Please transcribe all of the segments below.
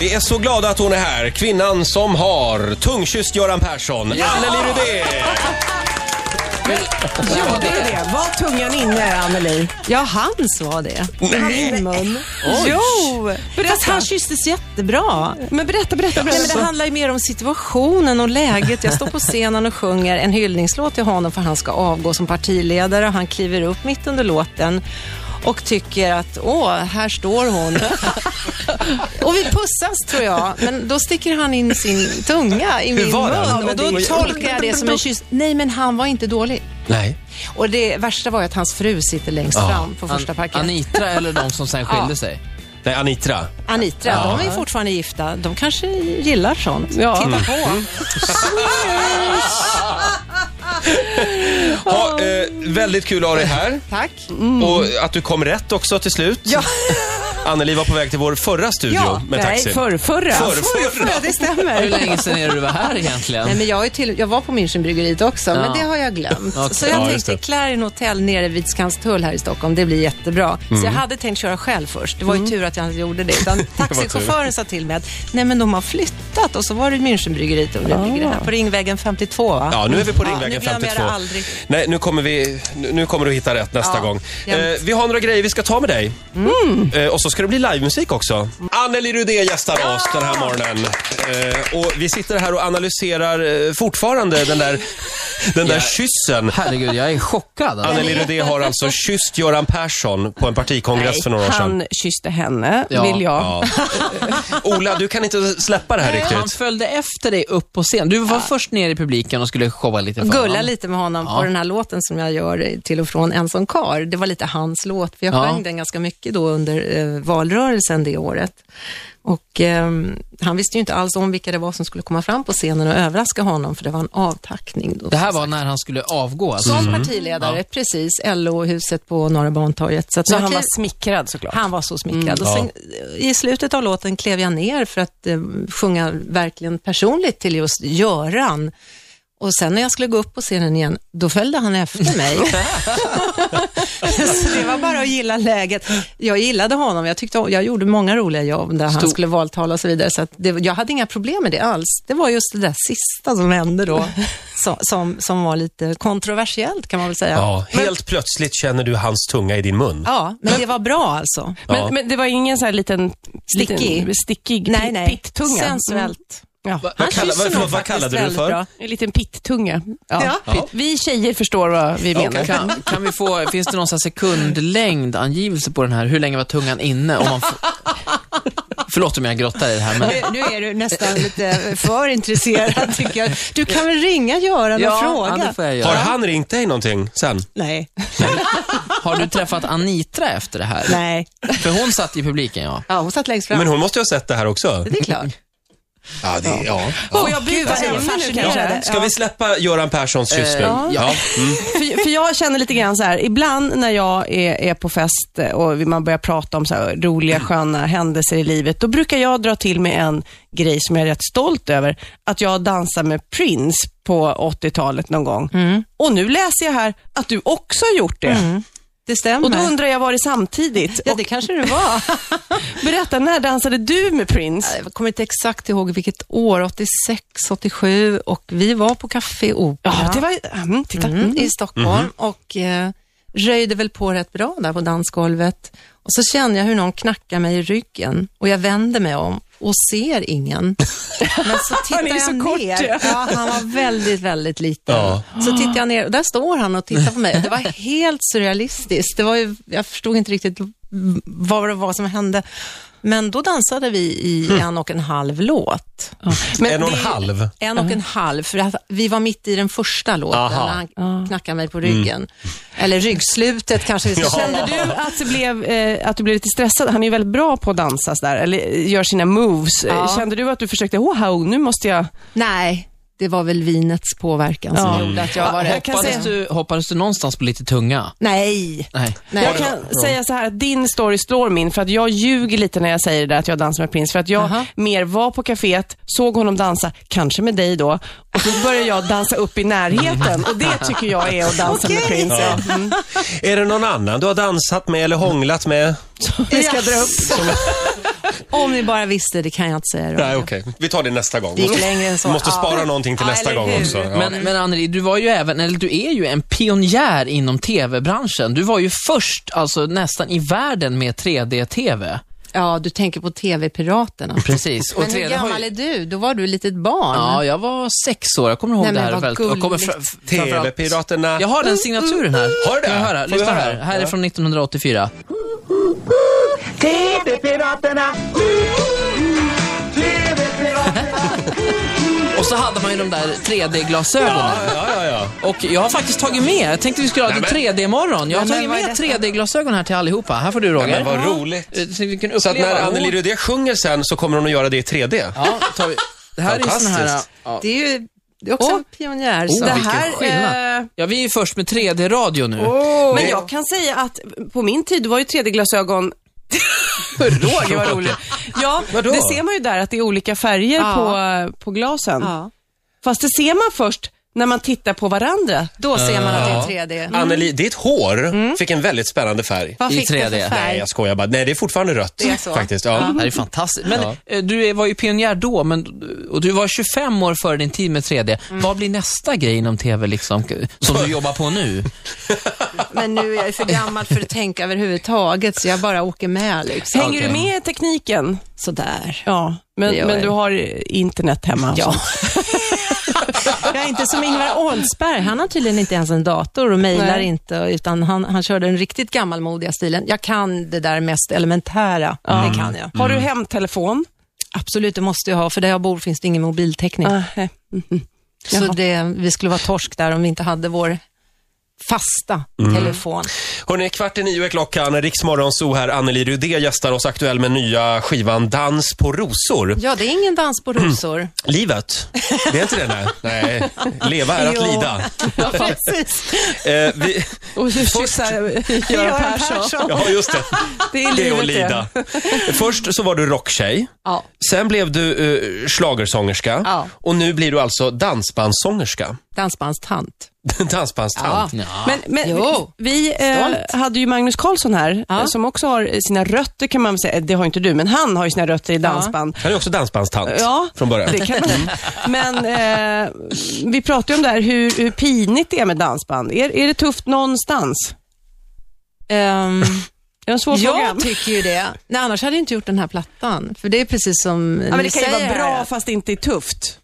Vi är så glada att hon är här. Kvinnan som har tungkysst Göran Persson, Anneli Rudén. Gjorde det? Var tungan inne, Anneli? Ja, hans var det. Nej. Mun. Jo, fast han kysstes jättebra. Men berätta, berätta. berätta. Nej, men det handlar ju mer om situationen och läget. Jag står på scenen och sjunger en hyllningslåt till honom för han ska avgå som partiledare och han kliver upp mitt under låten och tycker att åh, här står hon. och vi pussas tror jag, men då sticker han in sin tunga i min var han? mun och då tolkar jag det som en kyss. Nej, men han var inte dålig. Nej. Och det värsta var ju att hans fru sitter längst fram på första parkett. Anitra eller de som sen skilde sig. Nej, Anitra. Anitra, de är ju fortfarande gifta. De kanske gillar sånt. Mm. Titta på. Ha, eh, väldigt kul att ha dig här. Tack. Och att du kom rätt också till slut. Ja. Anneli var på väg till vår förra studio med taxi. nej, förrförra. Förrförra. Ja, det Hur stämmer. länge sen är det du var här egentligen? Nej, men jag, är till, jag var på Münchenbryggeriet också, men det har jag glömt. Okej. Så jag Ja, just tänkte, Clarin Hotel nere vid Skanstull här i Stockholm, det blir jättebra. Mm. Så jag hade tänkt köra själv först. Det var ju tur att jag inte gjorde det. Utan taxichauffören sa till mig att, nej men de har flyttat och så var det Münchenbryggeriet och nu ligger det här på Ringvägen 52 va? Ah. Ja, nu är vi på Ringvägen nu glömmer 52. jag det aldrig. Nej, nu kommer, vi, nu nu kommer du hitta rätt nästa Ja, gång. Eh, jämt. Mm. vi har några grejer vi ska ta med dig. Eh, och så ska det bli livemusik också. Anneli Rudé gästar oss den här morgonen. Eh, och vi sitter här och analyserar eh, fortfarande den där, den där kyssen. Herregud, jag är chockad. alltså. Anneli Rudé har alltså kysst Göran Persson på en partikongress för några år sedan. Han kysste henne, Ja, vill jag. Ja. Ola, du kan inte släppa det här Han riktigt. följde efter dig upp på scen. Du var först ner i publiken och skulle showa lite för Gulla honom. lite med honom på den här låten som jag gör till och från En som kar. Det var lite hans låt, för jag Ja. sjöng den ganska mycket då under eh, valrörelsen det året. Och ehm, han visste ju inte alls om vilka det var som skulle komma fram på scenen och överraska honom, för det var en avtackning. Då, Det här var när han skulle avgå alltså. som partiledare, precis, LO-huset på Norra Bantorget. Så, att Så jag han klev- var smickrad såklart. han var så Mm. smickrad. Och sen, eh, I slutet av låten klev jag ner för att eh, sjunga verkligen personligt till just Göran. Och sen när jag skulle gå upp på scenen igen, då följde han efter mig. så det var bara att gilla läget. Jag gillade honom, jag, tyckte, jag gjorde många roliga jobb där han skulle valtala och så vidare. Så att det, jag hade inga problem med det alls. Det var just det där sista som hände då, som, som, som var lite kontroversiellt kan man väl säga. Ja, helt plötsligt känner du hans tunga i din mun. Ja, men det var bra alltså. Ja. Men, men det var ingen sån här liten... Stickig. Liten, stickig Nej, nej. pittunga? Sensuellt. Mm. Ja. Vad, kallar, vad, förlåt, vad kallade du det för? En liten pittunga. Ja. Ja. Pitt. Vi tjejer förstår vad vi menar. Kan, kan vi få, finns det någon sån här sekundlängd angivelse på den här? Hur länge var tungan inne? Om man får... Förlåt om jag grottar i det här, men Mm. Nu, nu är du nästan lite för intresserad tycker jag. Du kan väl ringa Göran och ja, fråga? det får jag Har göra. han ringt dig någonting sen? Nej, Har du träffat Anitra efter det här? nej. För hon satt i publiken, ja. Ja, hon satt längst fram. Men hon måste ju ha sett det här också. Det är klart. Ja, det, ja. Oh, jag blir vad bara ämne nu fascinerad. kanske. Ska vi släppa Göran Perssons Eh, kyss nu? ja. Mm. för, för jag känner lite grann så här, ibland när jag är, är på fest och man börjar prata om så här roliga, sköna händelser i livet, då brukar jag dra till med en grej som jag är rätt stolt över, att jag dansade med Prince på 80-talet någon gång. Och nu läser jag här att du också har gjort det. Det stämmer. Och då undrar jag, var det samtidigt? Ja, Och det kanske det var. berätta, när dansade du med Prince? Jag kommer inte exakt ihåg vilket år, 86, 87 och vi var på Café Opera Ja, det var... Mm, Mm-hmm. titta. mm, i Stockholm och eh, röjde väl på rätt bra där på dansgolvet. Och så känner jag hur någon knackar mig i ryggen och jag vänder mig om och ser ingen. Men så tittar är jag så ner. kort, ja. ja. han var väldigt, väldigt liten. Ja. Så tittar jag ner och där står han och tittar på mig. Det var helt surrealistiskt. Det var ju, jag förstod inte riktigt vad det var som hände. Men då dansade vi Mm. i en och en halv låt. Men En och en det- halv. en och en halv, för att vi var mitt i den första låten Aha. Mm. när han knackade mig på ryggen. Eller ryggslutet kanske vi ska Kände säga. du att, det blev, eh, att du blev lite stressad? Han är ju väldigt bra på att dansa sådär, eller eh, gör sina moves. Eh, Ja. Kände du att du försökte, åh, hao, nu måste jag... Nej, det var väl vinets påverkan som Ja. gjorde att jag var Ja, jag rätt. kan säga- Hoppades du, hoppades du någonstans på lite tunga? Nej, Nej. nej. Jag kan säga så här att din story slår min, för att jag ljuger lite när jag säger det där att jag dansar med Prince. För att jag Aha. mer var på kaféet, såg honom dansa, kanske med dig då, och då började jag dansa upp i Mm. närheten. Och det tycker jag är att dansa med Prince. Mm. Är det någon annan du har dansat med eller hånglat med? Vi ska dra upp. Om ni bara visste, det kan jag inte säga. Nej, okej. Vi tar det nästa gång. Det gick längre än så. måste spara Ja. någonting till Ja, nästa eller gång hur? också. Ja. Men, men Anneli, du var ju även, eller du är ju en pionjär inom TV-branschen. Du var ju först, alltså nästan i världen med 3D-TV. Ja, du tänker på TV-piraterna. Precis. Men hur 3D har ju- gammal är du? Då var du ett litet barn. Ja, jag var sex år. Jag kommer ihåg Nej, det men här vad väldigt... Jag kommer gulligt. fra- f- framförallt- TV-piraterna. Jag har den signaturen här. Mm, Har du det? Kan jag höra? Får vi Lyssna höra? här. Här är Ja. från 1984. TV-piraterna! TV-piraterna! Och så hade man ju de där 3D-glasögonen. Ja, ja, ja. Och jag har faktiskt tagit med, jag tänkte vi skulle ha Nej, lite men- 3D-morgon. Jag har Nej, men tagit vad är med detta? 3D-glasögon här till allihopa. Här får du Roger. Men vad roligt. Eh, Så vi kan Så att uppleva- när Anneli Rudé sjunger sen så kommer hon att göra det i 3D. Ja, tar vi. Det här är ju sån här... Fantastiskt. Ja. Det är ju det är också Åh. en pionjär. Oh, så- det vilken här, skillnad. eh, ja, vi är ju först med 3D-radio nu. Men jag kan säga att på min tid var ju 3D-glasögon Roger, vad roligt. Ja, Vadå? det ser man ju där att det är olika färger Ja. på, på glasen. Ja. Fast det ser man först när man tittar på varandra. Då ser man att det är 3D. Anneli, ditt hår Mm. fick en väldigt spännande färg. Vad I fick du för 3D. Nej, färg? jag skojar bara. Nej, det är fortfarande rött. Det är så. Faktiskt, ja. Det här är fantastiskt. Men eh, du är- var ju pionjär då, men, och du var 25 år före din tid med 3D. Vad blir nästa grej inom TV, liksom, som du jobbar på nu? Men nu är jag ju för gammal för att tänka överhuvudtaget, så jag bara åker med liksom. Hänger Okej. du med i tekniken? Sådär. Ja, Det men, gör men jag. du har internet hemma? och sånt. Jag är inte som Ingvar Oldsberg. Han har tydligen inte ens en dator och mejlar Nej. inte, utan han, han kör den riktigt gammalmodiga stilen. Jag kan det där mest elementära. Det kan jag. Har du hemtelefon? Absolut, det måste jag ha, för där jag bor finns det ingen mobiltäckning. Ah, nej. Så det, vi skulle vara torsk där om vi inte hade vår fasta Mm. telefon. Hörrni, kvart i nio är klockan. Riksmorgon Zoo här. Anneli Rudé gästar oss aktuell med nya skivan Dans på rosor. Ja, det är ingen dans på rosor. Livet, det är inte det nej. nej. Leva är att Jo. lida. Ja, precis. Eh, vi... Och kyssar Göran Persson. Ja, just det. Det är Det är livet att lida. Först så var du rocktjej. Ja. Sen blev du uh, schlagersångerska. Ja. Och nu blir du alltså dansbandssångerska. Dansbandstant. Dansbandstant. Men, men Ah, Jo. vi eh, hade ju Magnus Karlsson här, eh, som också har sina rötter kan man väl säga, Eh, det har inte du, men han har ju sina rötter i dansband. Han är också dansbandstant Ja, från början. Det kan man. Men eh, vi pratade ju om det här hur, hur pinigt det är med dansband. Är, är det tufft någonstans? Ehm, Det är en svår fråga. jag tycker ju det. Nej, annars hade jag inte gjort den här plattan. För det är precis som Ja, ni men det kan ju säger vara här, bra att- fast det inte är tufft.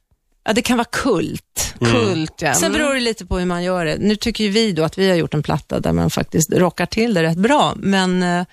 Ja, det kan vara kult. Kult, ja. Mm. Sen beror det lite på hur man gör det. Nu tycker ju vi då att vi har gjort en platta där man faktiskt rockar till det rätt bra, men eh,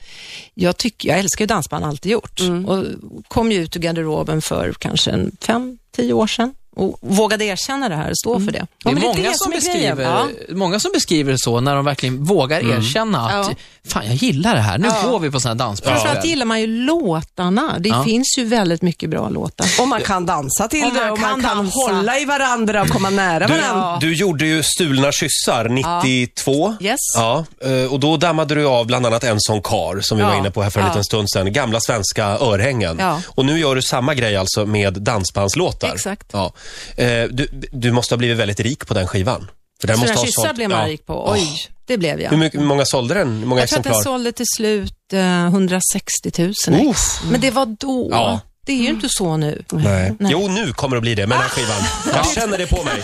jag, tycker, jag älskar ju dansband, alltid gjort. Och kom ju ut ur garderoben för kanske en fem, tio år sedan och vågade erkänna det här och stå för det. Det är, men det är många, det som som är beskriver, grejen. många som beskriver det så när de verkligen vågar erkänna att Ja. fan, jag gillar det här. Nu går vi på såna här dansband. Framförallt gillar man ju låtarna. Det finns ju väldigt mycket bra låtar. Om man kan dansa till Om det man och man kan kan dansa. hålla i varandra och komma nära Du, varandra. du gjorde ju Stulna kyssar 92. Yes. Ja, eh, och då dammade du av bland annat En sån kar som vi Ja. var inne på här för en Ja. liten stund sedan. Gamla svenska örhängen. Ja. Och nu gör du samma grej alltså med dansbandslåtar. Exakt. Ja. Eh, Du, du måste ha blivit väldigt rik på den skivan. För den Så måste den ha kyssar sålt- blev man ja. rik på. Oj, Oh. det blev Hur jag. mycket, hur många sålde den? Hur många Jag tror att exemplar? den sålde till slut eh, 160 000 ex. Men det var då. Ja. Det är ju inte så nu. Nej. Jo, nu kommer det bli det med den här skivan. Ah. Jag känner det på mig.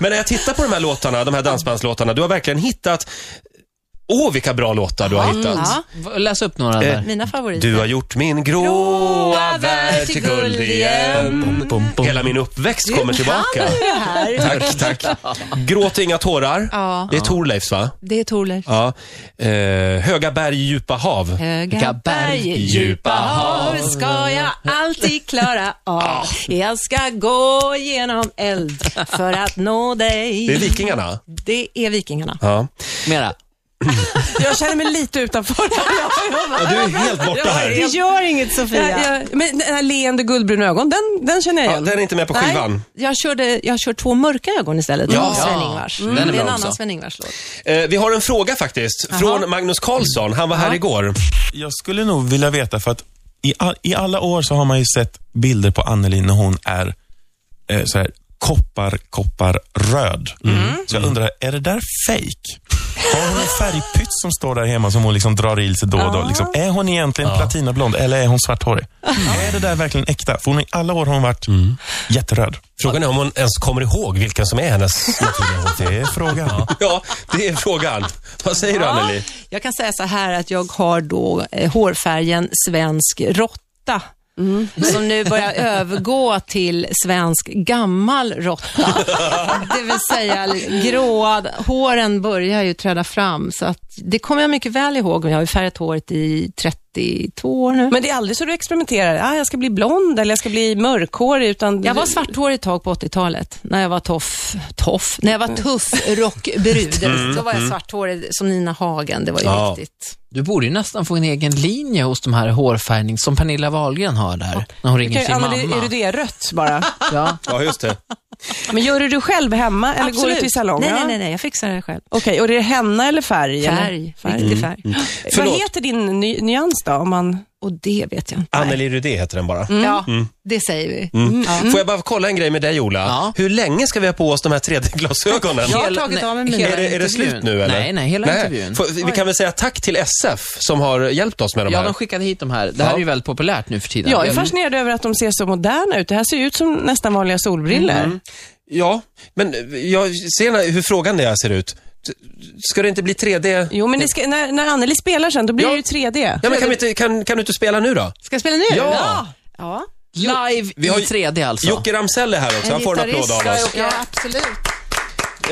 Men när jag tittar på de här låtarna, de här dansbandslåtarna, du har verkligen hittat... Åh, vilka bra låtar du Ah. har hittat. Ja, Läs upp några Eh, där. mina favoriter. Du har gjort min gråa värld till guld igen. Bom, bom, bom. Hela min uppväxt kommer tillbaka. Tack, tack. Gråt inga tårar. Ja. Det är Thorleifs, va? Det är Thorleif. Ja. Eh, höga berg, djupa hav. Höga berg, djupa hav ska jag alltid klara av. Jag ska gå genom eld för att nå Det är dig. Vikingarna. Det är Vikingarna. Ja. Mera. Jag känner mig lite utanför. Ja, du är helt borta här. gör inget Sofia. Jag, jag, men den här leende guldbruna ögon, den, den känner jag Ja, igen. den är inte med på Nej, skivan. jag, körde, jag kör två mörka ögon istället. Ja. Ja. Sven-Ingvars. Mm. Den är det är bra en också. annan Sven-Ingvars-låt. Eh, vi har en fråga faktiskt, från Magnus Karlsson. Han var här igår. Jag skulle nog vilja veta, för att i, all, i alla år så har man ju sett bilder på Anneli när hon är eh, Mm. så här, koppar, koppar, röd. Så jag undrar, är det där fake? Har hon en färgpytt som står där hemma som hon liksom drar i sig då och då? Liksom, är hon egentligen platinablond eller är hon svarthårig? Är det där verkligen äkta? För hon, i alla år har hon varit jätteröd. Frågan är om hon ens kommer ihåg vilken som är hennes naturliga hårfärg. Det är frågan. Ja, det är frågan. Vad säger du, Anneli? Jag kan säga så här att jag har då eh, hårfärgen svensk råtta. Som nu börjar övergå till svensk gammal råtta. Det vill säga gråa, håren börjar ju träda fram. Så att det kommer jag mycket väl ihåg. Jag har ju färgat håret i 32 år nu. Men det är aldrig så du experimenterar. Ah, jag ska bli blond eller jag ska bli mörkhårig. Utan Jag var svarthårig ett tag på 80-talet, när jag var toff, toff, när jag var tuff rockbrud. Då var jag svarthårig som Nina Hagen, det var ju Ja. riktigt. Du borde ju nästan få en egen linje hos de här hårfärgning som Pernilla Wahlgren har där, när hon ringer Okej, sin Anneli, mamma. är du det rött bara? Ja. Ja, just det. Men gör du det själv hemma eller går du Absolut. till salongen? Nej, nej, nej, nej, jag fixar det själv. Okej, och det är henna eller färg? Mm. eller? Färg, riktig färg. Vad Förlåt. heter din ny- nyans då? Om man... Och det vet jag inte. Anneli Rudé heter den bara. Mm. Ja, det säger vi. Får jag bara kolla en grej med dig, Ola? Mm, Ja. Hur länge ska vi ha på oss de här 3D-glasögonen? Jag har Hela- tagit av mig nej, mina. Är det, är det intervjun. slut nu eller? Nej, nej, hela intervjun. Får- Vi kan väl säga tack till SF som har hjälpt oss med de ja, här. de skickade hit de här. Det här Ja. är ju väldigt populärt nu för tiden. Jag är fascinerad över att de ser så moderna ut. Det här ser ju ut som nästan vanliga solbriller. Ja, men eh, jag ser hur frågan det här ser ut. Ska det inte bli 3D? Jo, men det ska, när, när Anneli spelar sen, då blir Ja. det ju 3D. Ja, men kan, vi inte, kan, kan du inte spela nu då? Alltså. Ska jag spela nu? Ja. ja. Live Vi har i ju- 3D alltså. Jocke Ramsell är här också, han får en applåd av oss. Ja, absolut.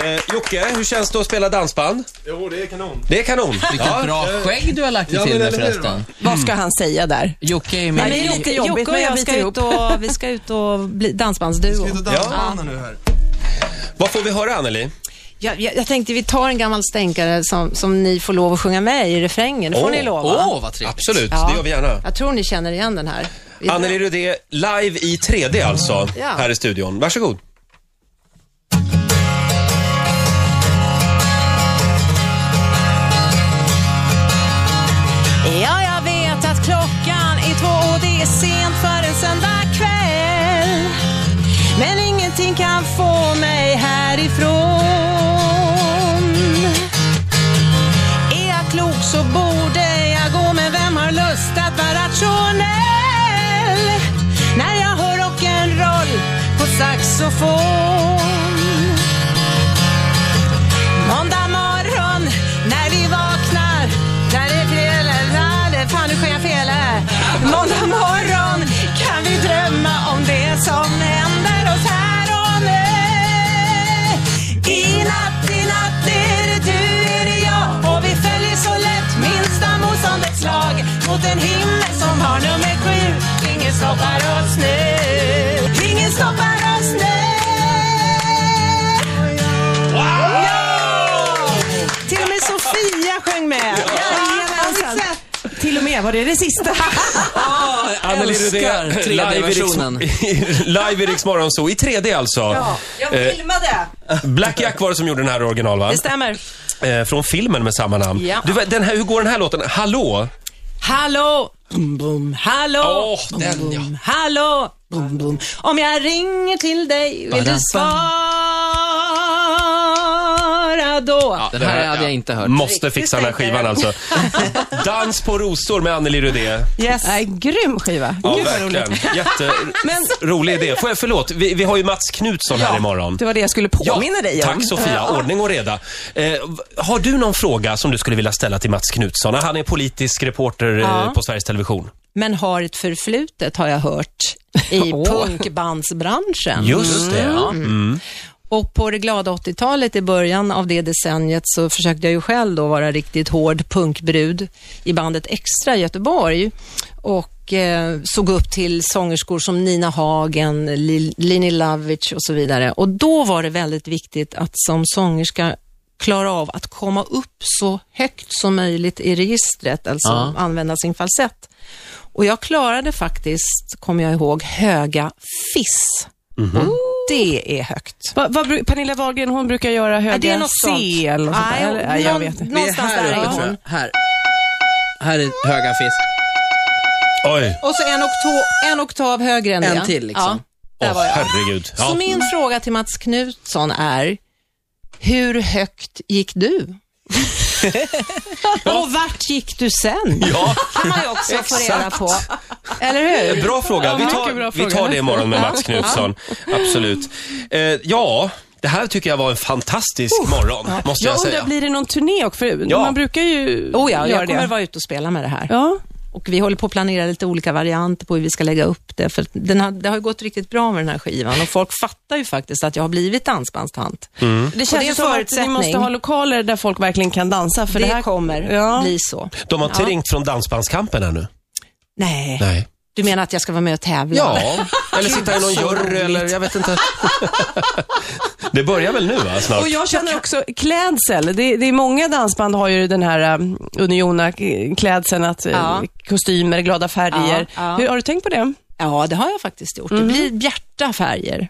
Eh, Jocke, hur känns det att spela dansband? Jo, det är kanon. Det är kanon. Vilket bra skägg du har lagt dig ja, till men med eller hur, förresten. Vad ska han säga där? Jocke är ju med Nej, i... men Jocke, lite jobbigt, Jocke och men jag jag biter ska ihop. ut och, vi ska ut och bli dansbandsduo. Vi tar dansbanden nu här. Vad får vi höra Anneli? Jag, jag, jag tänkte vi tar en gammal stänkare som, som ni får lov att sjunga med i refrängen. Det får Åh, ni lova. Åh, vad trevligt. Absolut, det gör vi gärna. Jag tror ni känner igen den här. Vi- Anneli Rudé, live i 3D alltså, Ja. här i studion. Varsågod. Ja, jag vet att klockan är två och det är sent för en söndagkväll. Men ingenting kan få mig härifrån. Är jag klok så borde jag gå, men vem har lust att vara rationell? När jag hör rock'n'roll på saxofon. Måndag morgon när vi vaknar Där är fel, där är fan nu sker jag fel här Måndag morgon kan vi drömma om det som händer oss här och nu I natt, i natt är det du, är det jag Och vi följer så lätt minsta motstånd ett slag Mot en himmel som har nummer sju Ingen stoppar oss nu Ingen stoppar oss nu Till och med Sofia sjöng med. Jajamensan. Till och med, var det det sista? Anneli Rudé, Älskar live i Riks- 3D-versionen. Live i Rix Morgon Zoo, i 3D alltså. Eh, filmade. Black Jack var det som gjorde den här original va? Det stämmer. Eh, från filmen med samma namn. Ja. Du, den här, hur går den här låten? Hallå? Hallå! Bum, bum, hallå! Åh, den, bum, ja. bum, Hallå! Bum, bum. Om jag ringer till dig, vill du Badam, svara då? Den här hade jag inte hört. Måste fixa den här skivan alltså. Dans på rosor med Anneli Rudé. Yes. Nej, grym skiva. Ja, Gud vad roligt. verkligen. Jätterolig idé. Får jag, förlåt, vi, vi har ju Mats Knutsson här imorgon. Det var det jag skulle påminna dig om. Tack Sofia, ordning och reda. Eh, v- har du någon fråga som du skulle vilja ställa till Mats Knutsson? Han är politisk reporter eh, på Sveriges Television. Men har ett förflutet, har jag hört, i punkbandsbranschen. Mm. Just det. ja. Mm. Och på det glada 80-talet, i början av det decenniet, så försökte jag ju själv då vara riktigt hård punkbrud i bandet Extra i Göteborg. Och eh, såg upp till sångerskor som Nina Hagen, Li- Lini Lavic och så vidare. Och då var det väldigt viktigt att som sångerska klara av att komma upp så högt som möjligt i registret, alltså Ja. använda sin falsett. Och jag klarade faktiskt, kommer jag ihåg, höga fiss. Och det är högt. Vad- vad bru- Pernilla Wahlgren, hon brukar göra höga Ja, det är något sånt. C eller något sånt där. Nej, Eller- Nej, jag någon- vet inte. Vi är Någonstans här där uppe är tror hon. jag. Här. Här är höga fisk. Oj, Och så en oktav, en oktav högre än En det. till, liksom. Ja, där Åh var jag. herregud. Så Ja. min fråga till Mats Knutsson är, hur högt gick du? Och vart gick du sen? Ja, kan man ju också få reda Exakt. på. Oh Eller hur? bra fråga. Vi mycket tar, bra vi tar fråga. det imorgon med Mats Knutsson. Absolut. Eh, ja, det här tycker jag var en fantastisk morgon, måste jag, Jag undrar, säga. blir det någon turné också? För Ja. man brukar ju Oh ja, göra jag kommer det. vara ute och spela med det här. Ja. Och vi håller på att planera lite olika varianter på hur vi ska lägga upp det. För att den har, det har ju gått riktigt bra med den här skivan och folk fattar ju faktiskt att jag har blivit dansbandstant. Det Mm. Och det är känns ju en som att ni förutsättning. måste ha lokaler där folk verkligen kan dansa. För För det, det, här kommer Ja. bli så. De har inte ringt från Dansbandskampen ännu? Nej. Nej. du menar att jag ska vara med och tävla? Ja, eller sitta i någon så jury roligt. eller jag vet inte. Det börjar väl nu va, snart? Och jag känner också klädsel. Det, det är många dansband har ju den här um, uniona k- klädseln, att eh, Ja. kostymer, glada färger. Ja, ja. Hur, har du tänkt på det? Ja, det har jag faktiskt gjort. Mm. Det blir bjärta färger.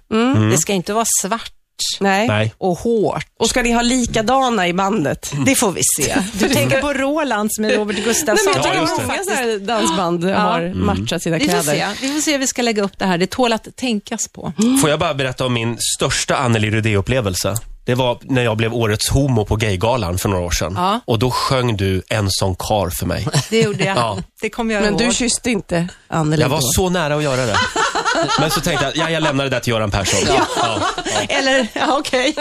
Det ska inte vara svart Nej. Nej. och hårt. Och ska ni ha likadana i bandet? Mm. Det får vi se. Du tänker på Roland som är Robert Nej, men Gustafsson. jag Ja, tycker just att det. många så här dansband har matchat sina Mm. vi, får kläder. se. vi får se hur vi ska lägga upp det här. Det tål att tänkas på. Får jag bara berätta om min största Anneli Rudé-upplevelse? Det var när jag blev årets homo på Gaygalan för några år sedan. Ja. Och då sjöng du En sån kar för mig. Det gjorde jag. Ja. Det kommer jag Men ihåg. du kysste inte Anneli Jag var då? så nära att göra det. Men så tänkte jag, ja, jag lämnar det där till Göran Persson. Ja. Eller, ja, okej.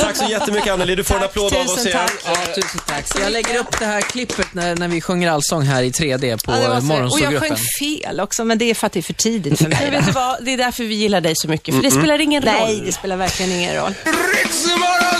Tack så jättemycket Anneli, du får en applåd av oss tusen igen. tack. Ja, tusen tack. Så jag lägger upp det här klippet när, när vi sjunger allsång här i 3D på Ja, det var ja, så- och jag sjöng morgonsågruppen. fel också, men det är för att det är för tidigt för mig. Men vet du vad, det är därför vi gillar dig så mycket, för det spelar ingen roll. Nej, det spelar verkligen ingen roll. Ritzmorgon!